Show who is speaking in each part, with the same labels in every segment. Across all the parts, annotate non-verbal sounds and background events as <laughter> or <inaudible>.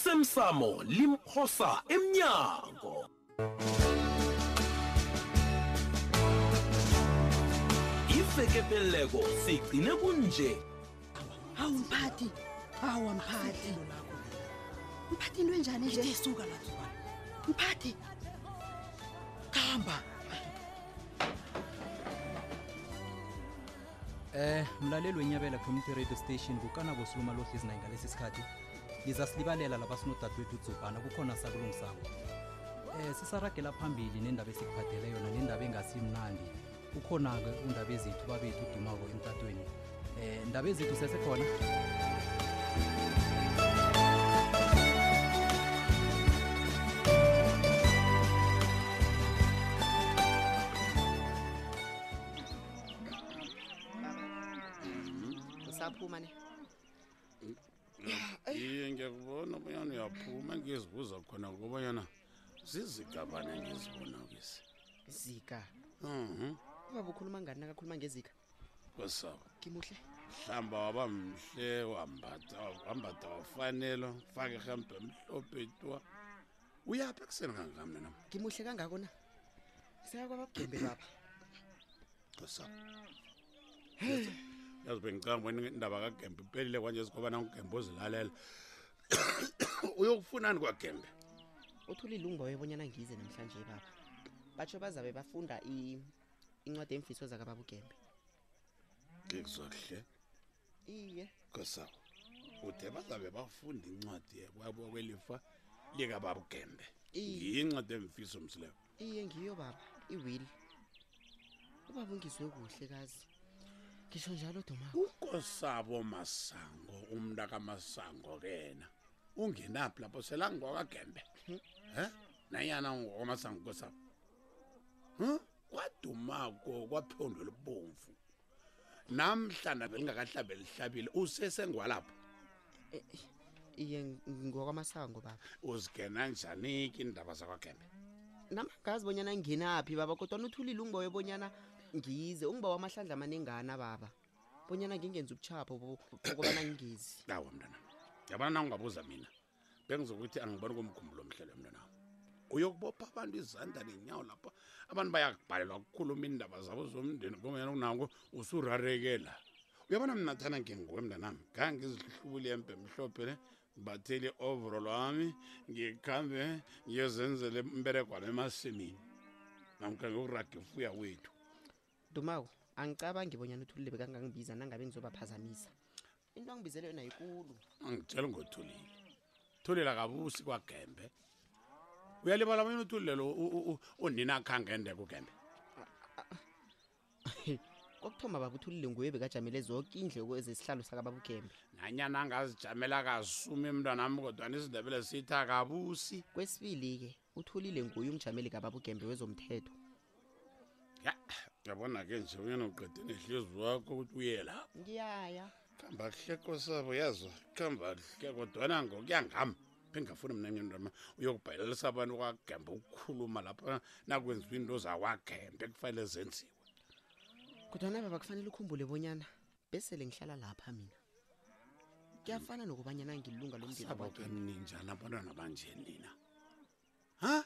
Speaker 1: osemsamo limphosa emnyango iveke pheleleko sigcine kunje
Speaker 2: hawu mphathi hawa mphathi mphathi into enjani nje suka lazuka mphathi
Speaker 3: hamba Eh mlaleli wenyabela community radio station kukanabo siluma lohlizi naye ngalesi sikhathi nizasilibalela laba sinodadewethu udzubhana kukhona sakulungisako Eh sisaragela phambili nendaba esikuphathele yona nendaba engasimnandi ukhona-ke undaba ezithu babethu udumako emtatweni Eh ndaba ezithu sesekhona
Speaker 4: usaphuma ne
Speaker 5: iye ngiyakubona obanyana uyaphuma ngizibuza khona ngokobanyana zizigabane engizibona kisi
Speaker 4: zika
Speaker 5: Mhm,
Speaker 4: ubaba ukhuluma ngani nakakhuluma ngezika
Speaker 5: kwesaba
Speaker 4: ngimuhle
Speaker 5: mhlamba waba mhle wambata wafanelwa fake hembe mhlophe twa uyaphi ekuseni kangaka mna nam
Speaker 4: ngimuhle kangako na seka kwababugembe lapha
Speaker 5: kwesaba yazi bengicanga bona indaba kagembe ipelile kwanje sikobana ugembe uzilalela <coughs> uyokufunani kwagembe
Speaker 4: uthulile ungibawe bonyana ngize namhlanje baba batsho bazabe bafunda i- incwadi emfiso zakababa ugembe
Speaker 5: ngikuzohle
Speaker 4: iye
Speaker 5: kwesaba ude bazabe bafunda incwadi yakwabo kwelifa likababa ugembe
Speaker 4: Iye.
Speaker 5: ngiyo incwadi emfiso msileyo
Speaker 4: iye ngiyo baba iwili ubaba ungizwe kuhle kazi ngisho njalo domako
Speaker 5: ukosabo masango umntakamasango ke yena ungenaphi lapho selangwakagembe um nanyana ngokwamasango kosabo um kwadumako kwaphondo libomvu namhlana belingakahlabe lihlabile usesengwalapho
Speaker 4: iye ng- ngokwamasango baba
Speaker 5: uzigena njani-ke iindaba zakwagembe
Speaker 4: namangazi bonyana nginaphi baba kodwa uthulile ungibawe bonyana ngize ungiba wamahlandla amaningana baba bonyana ngingenzi ubuchapho bo- bokobana ngizi
Speaker 5: awa mntana yabona na ungabuza mina bengizokuthi angiboni komkhumbulo omhlelo mntanam uyokubopha abantu izandla nenyawo lapha abantu bayakubhalelwa kukhuluma iindaba zabo zomndeni ngomanyana unako usurarekela uyabona mna thana nginguwe mntanami ngangizihlubule yembe mhlophe le ngibathele ovro lwami ngikhambe ngiyozenzela imberegwana emasimini namkha ngiyokuraga ifuya wethu
Speaker 4: dumako angicabangi bonyana uthulile bekangangibiza nangabe ngizobaphazamisa into angibizele yona yikulu
Speaker 5: angitshela ngothulile thulile akabusi kwagembe uyalibala abanye uthulile lo u- u- u- unina khangende kugembe
Speaker 4: kokuthoma baba uthulile nguye bekajamele zoke indleko ezesihlalo sakababa ugembe
Speaker 5: nanyana angazijamela kasumi mntwanami kodwana isindebele sithi akabusi
Speaker 4: kwesibili-ke uthulile nguye umjameli kababa ugembe wezomthetho
Speaker 5: ya yabona ke nje unyana uqede nehlizi wakho ukuthi uye lapho
Speaker 4: ngiyaya
Speaker 5: kuhamba kuhle kosabo yazwa kuhamba kuhle kodwana ngokuyangami bengingafuni mna mnye mntwanam uyokubhalelisa abantu kwagembe ukukhuluma lapha nakwenziwa into zakwagembe kufanele zenziwe
Speaker 4: kodwana baba kufanele ukhumbule bonyana besele ngihlala lapha mina kuyafana nokubanyana ngilunga lomndeni wakhe
Speaker 5: sabakamninjani abantwana banje nina ha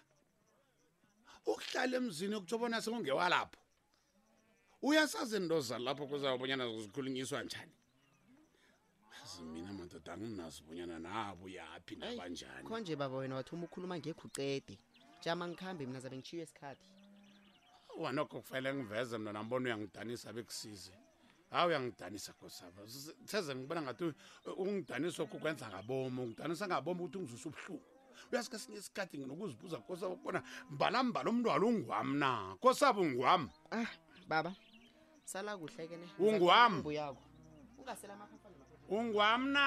Speaker 5: ukuhlala emzini okutsho bona sekungewalapho uyasazi into zalapho kuzabonyana zikhulunyiswa njani azi mina madoda anginazi bonyana nabo yaphi
Speaker 4: Ayi,
Speaker 5: nabanjani
Speaker 4: khonje baba wena wathuma ukukhuluma ngekhucede jama ngikhambe mina zabe ngitshiywe isikhathi
Speaker 5: wanokho kufanele ngiveze mna nambona uyangidanisa bekusize hawu uyangidanisa kosaba S- seze ngibona ngathi u- ungidanisa okhu kwenza ngabomo ungidanisa ngabomo ukuthi ngizwise ubuhlungu uyasike sinye isikhathi nginokuzibuza kosaba ukubona mbalambala umntwalo ungwam na kosaba ungwam
Speaker 4: ah baba sala kuhle-ke ne
Speaker 5: Ungwami.
Speaker 4: yakho ungasela amaphapha
Speaker 5: ungwam na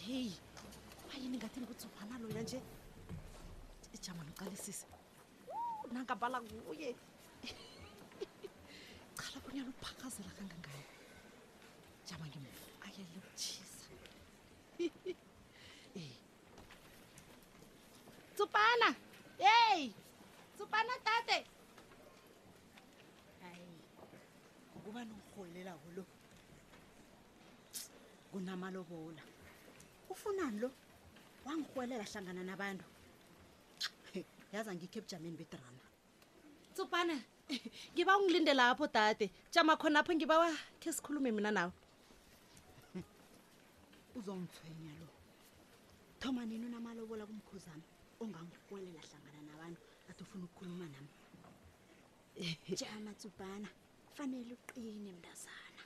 Speaker 2: heyi ayini ngathi nguzubhana loya nje ijama <laughs> niqalisise nangabala kuye chala bona umoya luphakazela kangangani jama ngemuva ayele ukutshisa <laughs> Eh. tsupana yeyi tsupana tate hayi ukuba nongirholelako lo kunamalobola ufunani lo wangirhwelela hlangana nabantu yaza ngikho ebujameni bedrana tsupana ngiba ungilinde lapho dade jama khonapho ngibawa khe sikhulume mina nawe uzongithwenya lo thoma nini unamalobola kumkhuzana ongangirhwelela hlangana nabantu athi ufuna ukukhuluma nami jama tsubhana kufanele uqine mntazana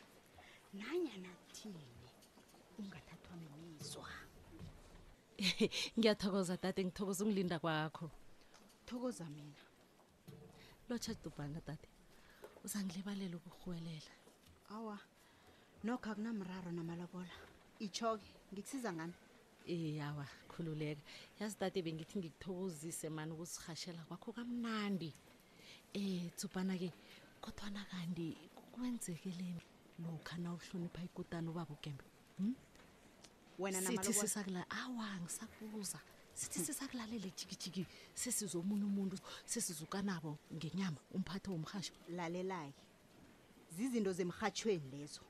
Speaker 2: nanyana thini ungathathwa mimizwa
Speaker 6: ngiyathokoza dade ngithokoza ungilinda kwakho
Speaker 2: thokoza mina
Speaker 6: lotsha dubhana dade uzangilibalela ukurhwelela
Speaker 2: awa nokho akunamraro namalobola itsho-ke ngikusiza ngani
Speaker 6: Eh awa khululeka yazi dade bengithi ngikuthokozise mani ukusirhashela kwakho kamnandi eh tsubhana-ke kodwana kanti kwenzekeleni lokha na uhlonipha ikutani ubaba ugembe
Speaker 2: wena
Speaker 6: sithi
Speaker 2: namalobola
Speaker 6: sisakula awa ngisakuza sithi sisakulalela jikijiki sesizomunye umuntu sesizukanabo ngenyama umphathi womrhasho
Speaker 2: lalelaye zizinto zemrhatshweni lezo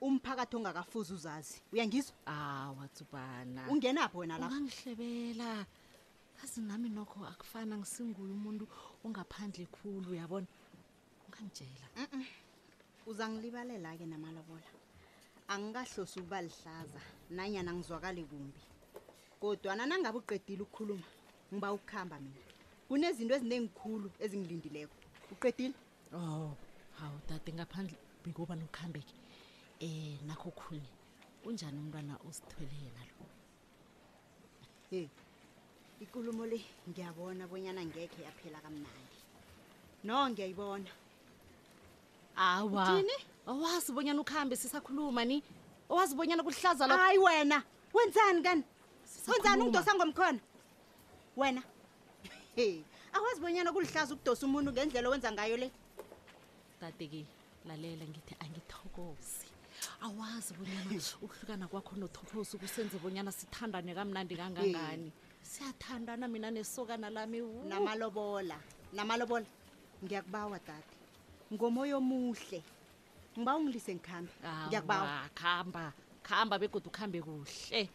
Speaker 2: umphakathi ongakafuzi uzazi uyangizwa
Speaker 6: awa tsubana
Speaker 2: ungenapho wena lapho
Speaker 6: ungangihlebela kazi nami nokho akufana ngisinguye umuntu ongaphandle khulu uyabona ungangitshela
Speaker 2: uzangilibalela-ke namalobola angikahlosi ukuba lihlaza nanyana ngizwakale kumbi kodwana nangabe uqedile ukukhuluma ngiba ukuhamba mina kunezinto ezinengikhulu ezingilindileko uqedile
Speaker 6: oh hawu dade ngaphandle bekobana ukuhambeke um nakho khunye unjani umntwana uzithwele yena lo
Speaker 2: he ikulumo le ngiyabona bonyana ngekhe yaphela kamnandi no ngiyayibona
Speaker 6: awa
Speaker 2: Uthini?
Speaker 6: owazi bonyana ukuhambe sisakhuluma ni owazi bonyana kulihlaza lokho
Speaker 2: hayi wena wenzani kani wenzani
Speaker 6: Sisakhuluma.
Speaker 2: ungidosa ngomkhono wena he awazi bonyana kulihlaza ukudosa umuntu ngendlela owenza ngayo le
Speaker 6: dade-ke lalela ngithi angithokozi awazi bonyana ukuhlukana kwakho nothophosi kusenze bonyana sithandane kamnandi kangangani siyathandana mina nesokana lami wu.
Speaker 2: namalobola namalobola ngiyakubawa dade ngomoya omuhle ngiba ungilise ngikhambe ngiyakubawa
Speaker 6: Awa, khamba khamba begodwa ukuhambe kuhle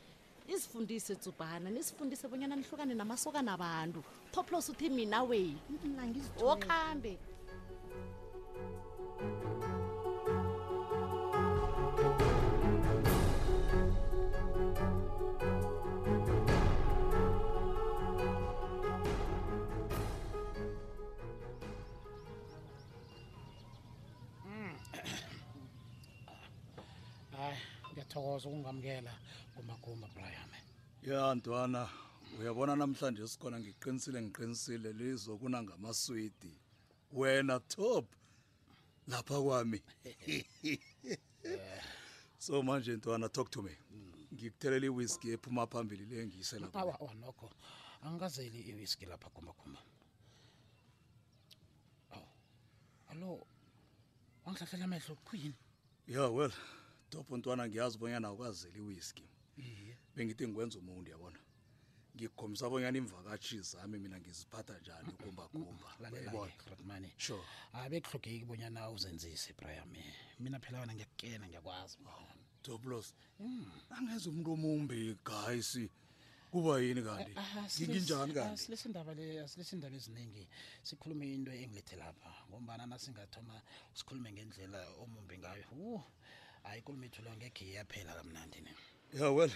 Speaker 6: nisifundise tsubhana nisifundise bonyana nihlukane namasokana abantu thoplos uthi mina wey okhambe
Speaker 3: hayi ngiyathokoza ukungamukela kumagumba brian
Speaker 1: ya ntwana uyabona namhlanje sikhona ngiqinisile ngiqinisile lizokuna ngamaswidi wena top lapha
Speaker 3: <laughs>
Speaker 1: kwami so manje ntwana talk to me ngikuthelela iwhiski ephuma phambili le ngiyise lapha
Speaker 3: awa nokho angikazeli iwiski lapha gumbagumba awu alo wangihlahlela amehlo kuyini
Speaker 1: ya well top ntwana ngiyazi bonyana awukazeli iwhiski bengithi ngikwenza umuntu yabona ngikhombisa bonyana imvakatshi zami mina ngiziphatha njani ukumbagumba
Speaker 3: lalela ratmane
Speaker 1: sure
Speaker 3: abe kuhlogeki Ah, bonyana uzenzise brian mina phela wena ngiyakukena ngiyakwazi mngani.
Speaker 1: Doblos. Angazi umuntu omumbi guys. Kuba yini kanti?
Speaker 3: Ah, silis-
Speaker 1: Nginjani
Speaker 3: ah,
Speaker 1: kanti?
Speaker 3: silesi indaba le asilesi indaba eziningi sikhulume into engilethe lapha ngombana nasingathoma sikhulume ngendlela omumbi ngayo wu hayi ikulumo ethu lo ngekhe iyaphela kamnandi ne
Speaker 1: Yeah well,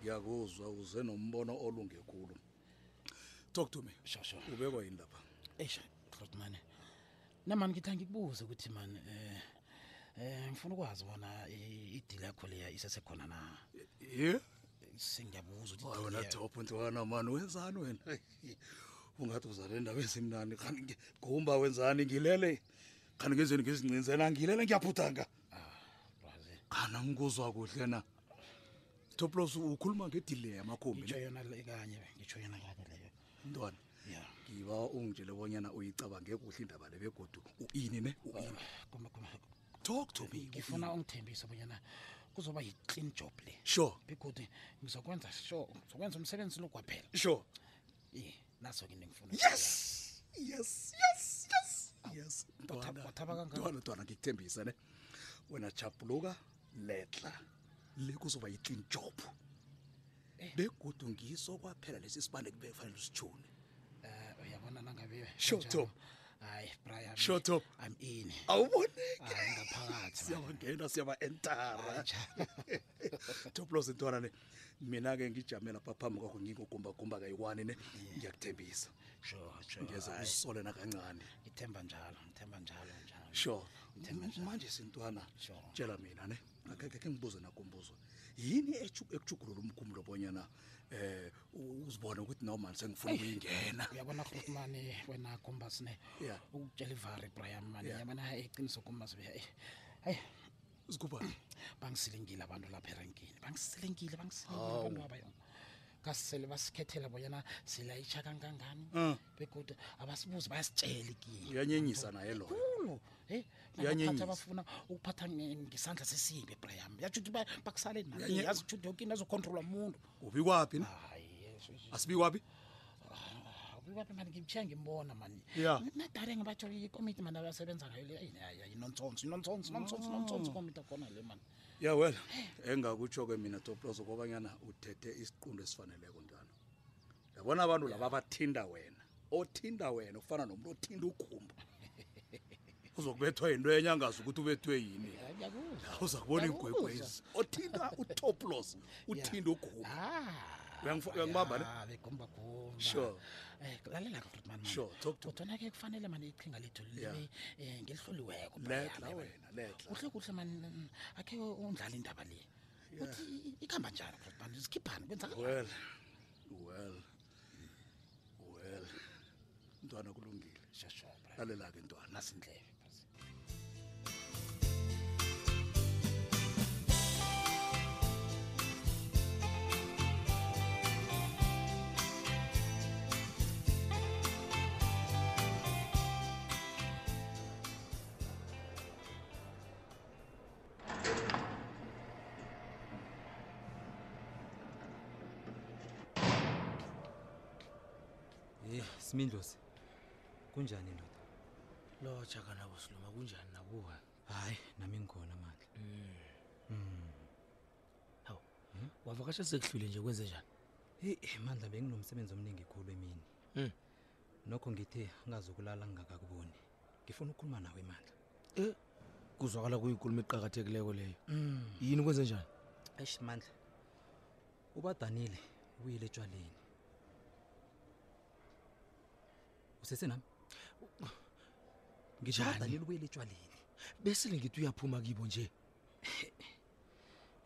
Speaker 1: ngiyakuzwa uze nombono olungekhulu. Talk to me.
Speaker 3: shosho
Speaker 1: Ubekwa yini lapha?
Speaker 3: eish rotmane namani ngithi angikubuze ukuthi mani um um ngifuna ukwazi bona i- idili yakho leya isesekhona na
Speaker 1: Yeah.
Speaker 3: sengiyabuza ukuthi
Speaker 1: Wena
Speaker 3: idili
Speaker 1: top ntwana man wenzani wena? <laughs> Ungathi uzale ndaba ezimnandi kanti ngomba wenzani ngilele? Kanti ngezweni ngizincinzela ngilele ngiyaphutanga.
Speaker 3: ya- Razi.
Speaker 1: Kana ngikuzwa kuhle na. Toplos ukhuluma ngedile yamakhumbi
Speaker 3: ngitsho
Speaker 1: ne?
Speaker 3: yona le kanye ngitsho yona kanye leyo
Speaker 1: mntwana.
Speaker 3: ya
Speaker 1: ngiba ungitshele bonyana uyicabange kuhle indaba le begodu u-ini ne u-ini
Speaker 3: kumagumba
Speaker 1: talk to me
Speaker 3: ngifuna ungithembise bonyana kuzoba yi-clean job le
Speaker 1: sure
Speaker 3: begodi ngizokwenza sure ngizokwenza umsebenzi lo kwaphela
Speaker 1: sure
Speaker 3: ye naso-ke into engifuna
Speaker 1: yes yes yes yes yes
Speaker 3: wathaba-
Speaker 1: Mntwana,
Speaker 3: wathaba kangaka?
Speaker 1: mntwana, mntwana ngikuthembisa ne wena jabuluka letla le kuzoba yi-clean job Eh. begudu ngiso kwaphela lesi sibane kube fanele usijune
Speaker 3: Eh, uyabona nangabe
Speaker 1: Sure, Tom.
Speaker 3: hayi brian
Speaker 1: Sure, Tom.
Speaker 3: i'm in
Speaker 1: awuboneke
Speaker 3: hayi ngaphakathi man.
Speaker 1: siyabangena siyaba-entara <laughs> toplos intwana ne mina-ke ngijamela pha phambi kwakho ngingogumba kayiwani ne ngiyakuthembisa
Speaker 3: sure sure
Speaker 1: ngeze
Speaker 3: hayi,
Speaker 1: usole nakancane
Speaker 3: ngithemba njalo ngithemba njalo njalo
Speaker 1: sure
Speaker 3: Ngithemba njalo.
Speaker 1: manje sintwana
Speaker 3: Sure.
Speaker 1: tshela mina ne akekeke ngibuze nakumbuzo yini ekuchugulula umkhumbulo obonyana um uzibone ukuthi nawo mani sengifuna ukuyingena
Speaker 3: uyabona rotmane wena kombas ne
Speaker 1: Yeah.
Speaker 3: ukutshela ivari brian mane
Speaker 1: Yeah.
Speaker 3: yabona hayi iqiniso kombas hayi hayi <clears throat>
Speaker 1: zikuba
Speaker 3: bangisilengile abantu lapha erenkini bangisilengile bangisilengile abantu abaya kasele basikhethela bonyana silayitsha kangangani
Speaker 1: Mm.
Speaker 3: begoda abasibuzi bayasitshela ikiyo
Speaker 1: uyanyenyisa naye loyo
Speaker 3: kulo e
Speaker 1: Uyanyenyisa.
Speaker 3: nabaphathi abafuna ukuphatha nge- ngesandla sesimbi brian yatsho ukuthi ba- bakusaleni
Speaker 1: Uyanye-
Speaker 3: nayazi ukuthi uthi yonkini azokhontrolwa muntu
Speaker 1: ubi kwaphi ne
Speaker 3: hayi yes,
Speaker 1: asibi kwaphi
Speaker 3: ubaba mani ngimshiya ngimbona mani
Speaker 1: Yeah.
Speaker 3: nadare ngibatsho ikomiti mani abasebenza ngayo le yinonsonsi inonsonsi inonsonsi inonsonsi ikomiti akhona le mani
Speaker 1: ya wena engakutsho-ke mina toplos kobanyana uthethe isiqundo esifaneleko ntwana yabona abantu laba abathinda wena othinda wena ukufana nomuntu othinda ugumba uzokubethwa yinto enye angazi ukuthi ubethwe yini
Speaker 3: yakuzwa
Speaker 1: uza kubona
Speaker 3: Ngiyakuzwa.
Speaker 1: iigwegwezi othinda <laughs> utoplos uthinda ugumba
Speaker 3: Ah.
Speaker 1: Uyangifo- uyangibamba ne?
Speaker 3: begumbagumbagumba
Speaker 1: Sure.
Speaker 3: Eh, lalela kafrit mani
Speaker 1: Sure, talk to me.
Speaker 3: kodwana ke kufanele mani iqhinga lethu libe um ngelihloliweko
Speaker 1: letla wena letla
Speaker 3: kuhle kuhle mani akhe undlala indaba le uthi i- ikhamba njani kafrit mani zikhiphani kwenzakala
Speaker 1: well well well mntwana kulungile
Speaker 3: shosho bra
Speaker 1: lalela-ke ntwana
Speaker 3: nasindlebe phasi
Speaker 7: ye simindlosi kunjani ndoda
Speaker 8: lotsha kanabo siluma kunjani nakuwe
Speaker 7: hayi nami ngikhona mandla
Speaker 8: Hmm. hawu wavakasha sekuhlwile nje kwenze njani
Speaker 7: heyi Hmm? mandla benginomsebenzi omningi khulu emini
Speaker 8: Mm.
Speaker 7: nokho ngithe ngingazokulala ngingakakuboni ngifuna ukukhuluma nawe mandla
Speaker 8: e kuzwakala kuyinkulumo eqakathekileko leyo yini kwenze njani
Speaker 7: Hmm. eish mandla ubadanile ubuyile etshwaleni usesenami ngisho
Speaker 8: Njani?
Speaker 7: ubadanile ubuyele etshwaleni
Speaker 8: besele ngithi uyaphuma kibo nje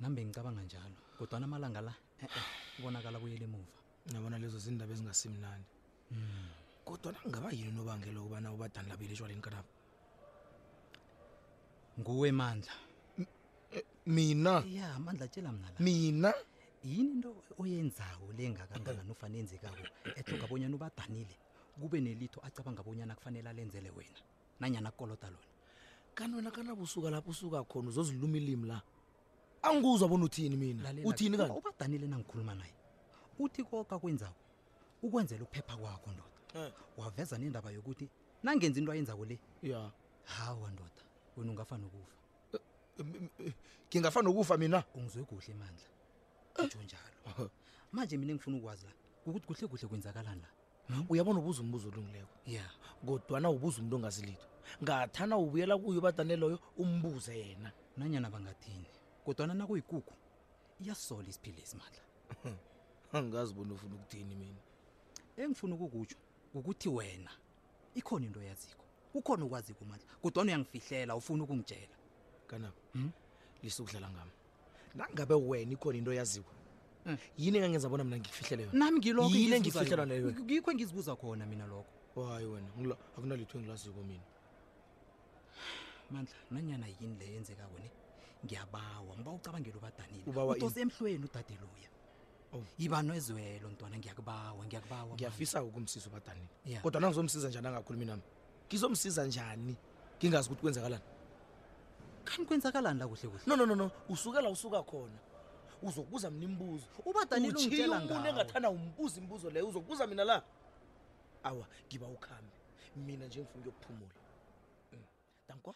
Speaker 7: nami bengicabanga njalo kodwana amalanga la e-e ubonakala buyele emuva
Speaker 8: nabona lezo zindaba ezingasimnandi Hmm. kodwa nangingaba yini unobangela okubana ubadani labile etshwaleni kanabo
Speaker 7: nguwe mandla
Speaker 8: mina
Speaker 7: ya mandla tshela mna la
Speaker 8: mina
Speaker 7: yini into oyenzawo lengakangaka nofana enzekako etloga bonyana ubadanile kube nelitho acabanga bonyana kufanele alenzele wena nanyana kukoloda lona
Speaker 8: kanti wena kanabo usuka lapho usuka khona uzoziluma ilimi la anguzwa bona uthini mina
Speaker 7: Lalela-
Speaker 8: uthini
Speaker 7: uba-
Speaker 8: kanti
Speaker 7: ubadanile nangikhuluma naye uthi koka kwenzako ukwenzela ukuphepha kwakho ndoda
Speaker 8: Eh.
Speaker 7: waveza nendaba yokuthi nangenza into ayenzako le
Speaker 8: ya
Speaker 7: hawa ndoda wena ungafa nokufa
Speaker 8: ngingafana nokufa mina
Speaker 7: ungizwe kuhle mandla utsho njalo manje mina engifuna ukwazi la ukuthi kuhle kuhle kwenzakalani la
Speaker 8: Hmm? uyabona ubuza umbuzo olungileko
Speaker 7: ya
Speaker 8: kodwana ubuza umuntu ongazilitho ngathana ubuyela kuyo ubadane loyo umbuze yena
Speaker 7: nanyana bangathini kodwana nakuyigugu iyasola isiphile esimandla
Speaker 8: <laughs> angazi bona ufuna ukuthini mina
Speaker 7: engifuna ukukutsho ukuthi wena ikhona into oyaziko ukhona ukwaziko mandla kodwana uyangifihlela ufuna ukungitshela
Speaker 8: kanabo lisukudlala ngami Hmm? Hmm. nangabe wena ikhona into yaziwa
Speaker 7: Mm.
Speaker 8: yini engangenza bona mina ngikufihlele yona
Speaker 7: nami ngilokho
Speaker 8: Yini
Speaker 7: engizibuza
Speaker 8: engiyifihlelwa
Speaker 7: yona.
Speaker 8: leyo wena?
Speaker 7: ngikho engizibuza khona mina lokho
Speaker 8: hayi wena ngila- akunalitho engilaziko mina
Speaker 7: mandla nanyana yini le yenzeka wena ngiyabawa ngiba ucabangela ubadanile
Speaker 8: Ubawa ini?
Speaker 7: udose emhlweni udade luya
Speaker 8: Oh.
Speaker 7: yiba nozwelo ntwana ngiyakubawa ngiyakubawa
Speaker 8: ngiyafisa ukumsiza ubadanile
Speaker 7: Yeah.
Speaker 8: kodwa nangizomsiza njani angakhulumi nami ngizomsiza njani ngingazi ukuthi kwenzakalani
Speaker 3: khani kwenzakalani la kuhle kuhle
Speaker 8: no no no no usukela usuka khona uzokubuza mina imbuzo
Speaker 3: Danilo
Speaker 8: Utjhiye
Speaker 3: ungitjela
Speaker 8: umuntu
Speaker 3: ngawo.
Speaker 8: engathanda umbuza imbuzo leyo uzokubuza mina la awa ngiba ukhambe mina nje ngifuna ukuyokuphumula Mm. dankwa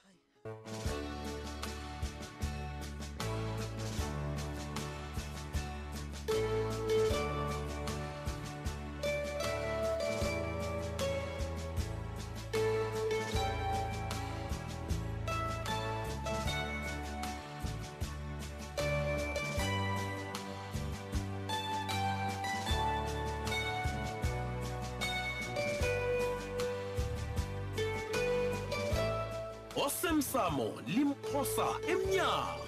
Speaker 1: osemsamo limphosa emnyango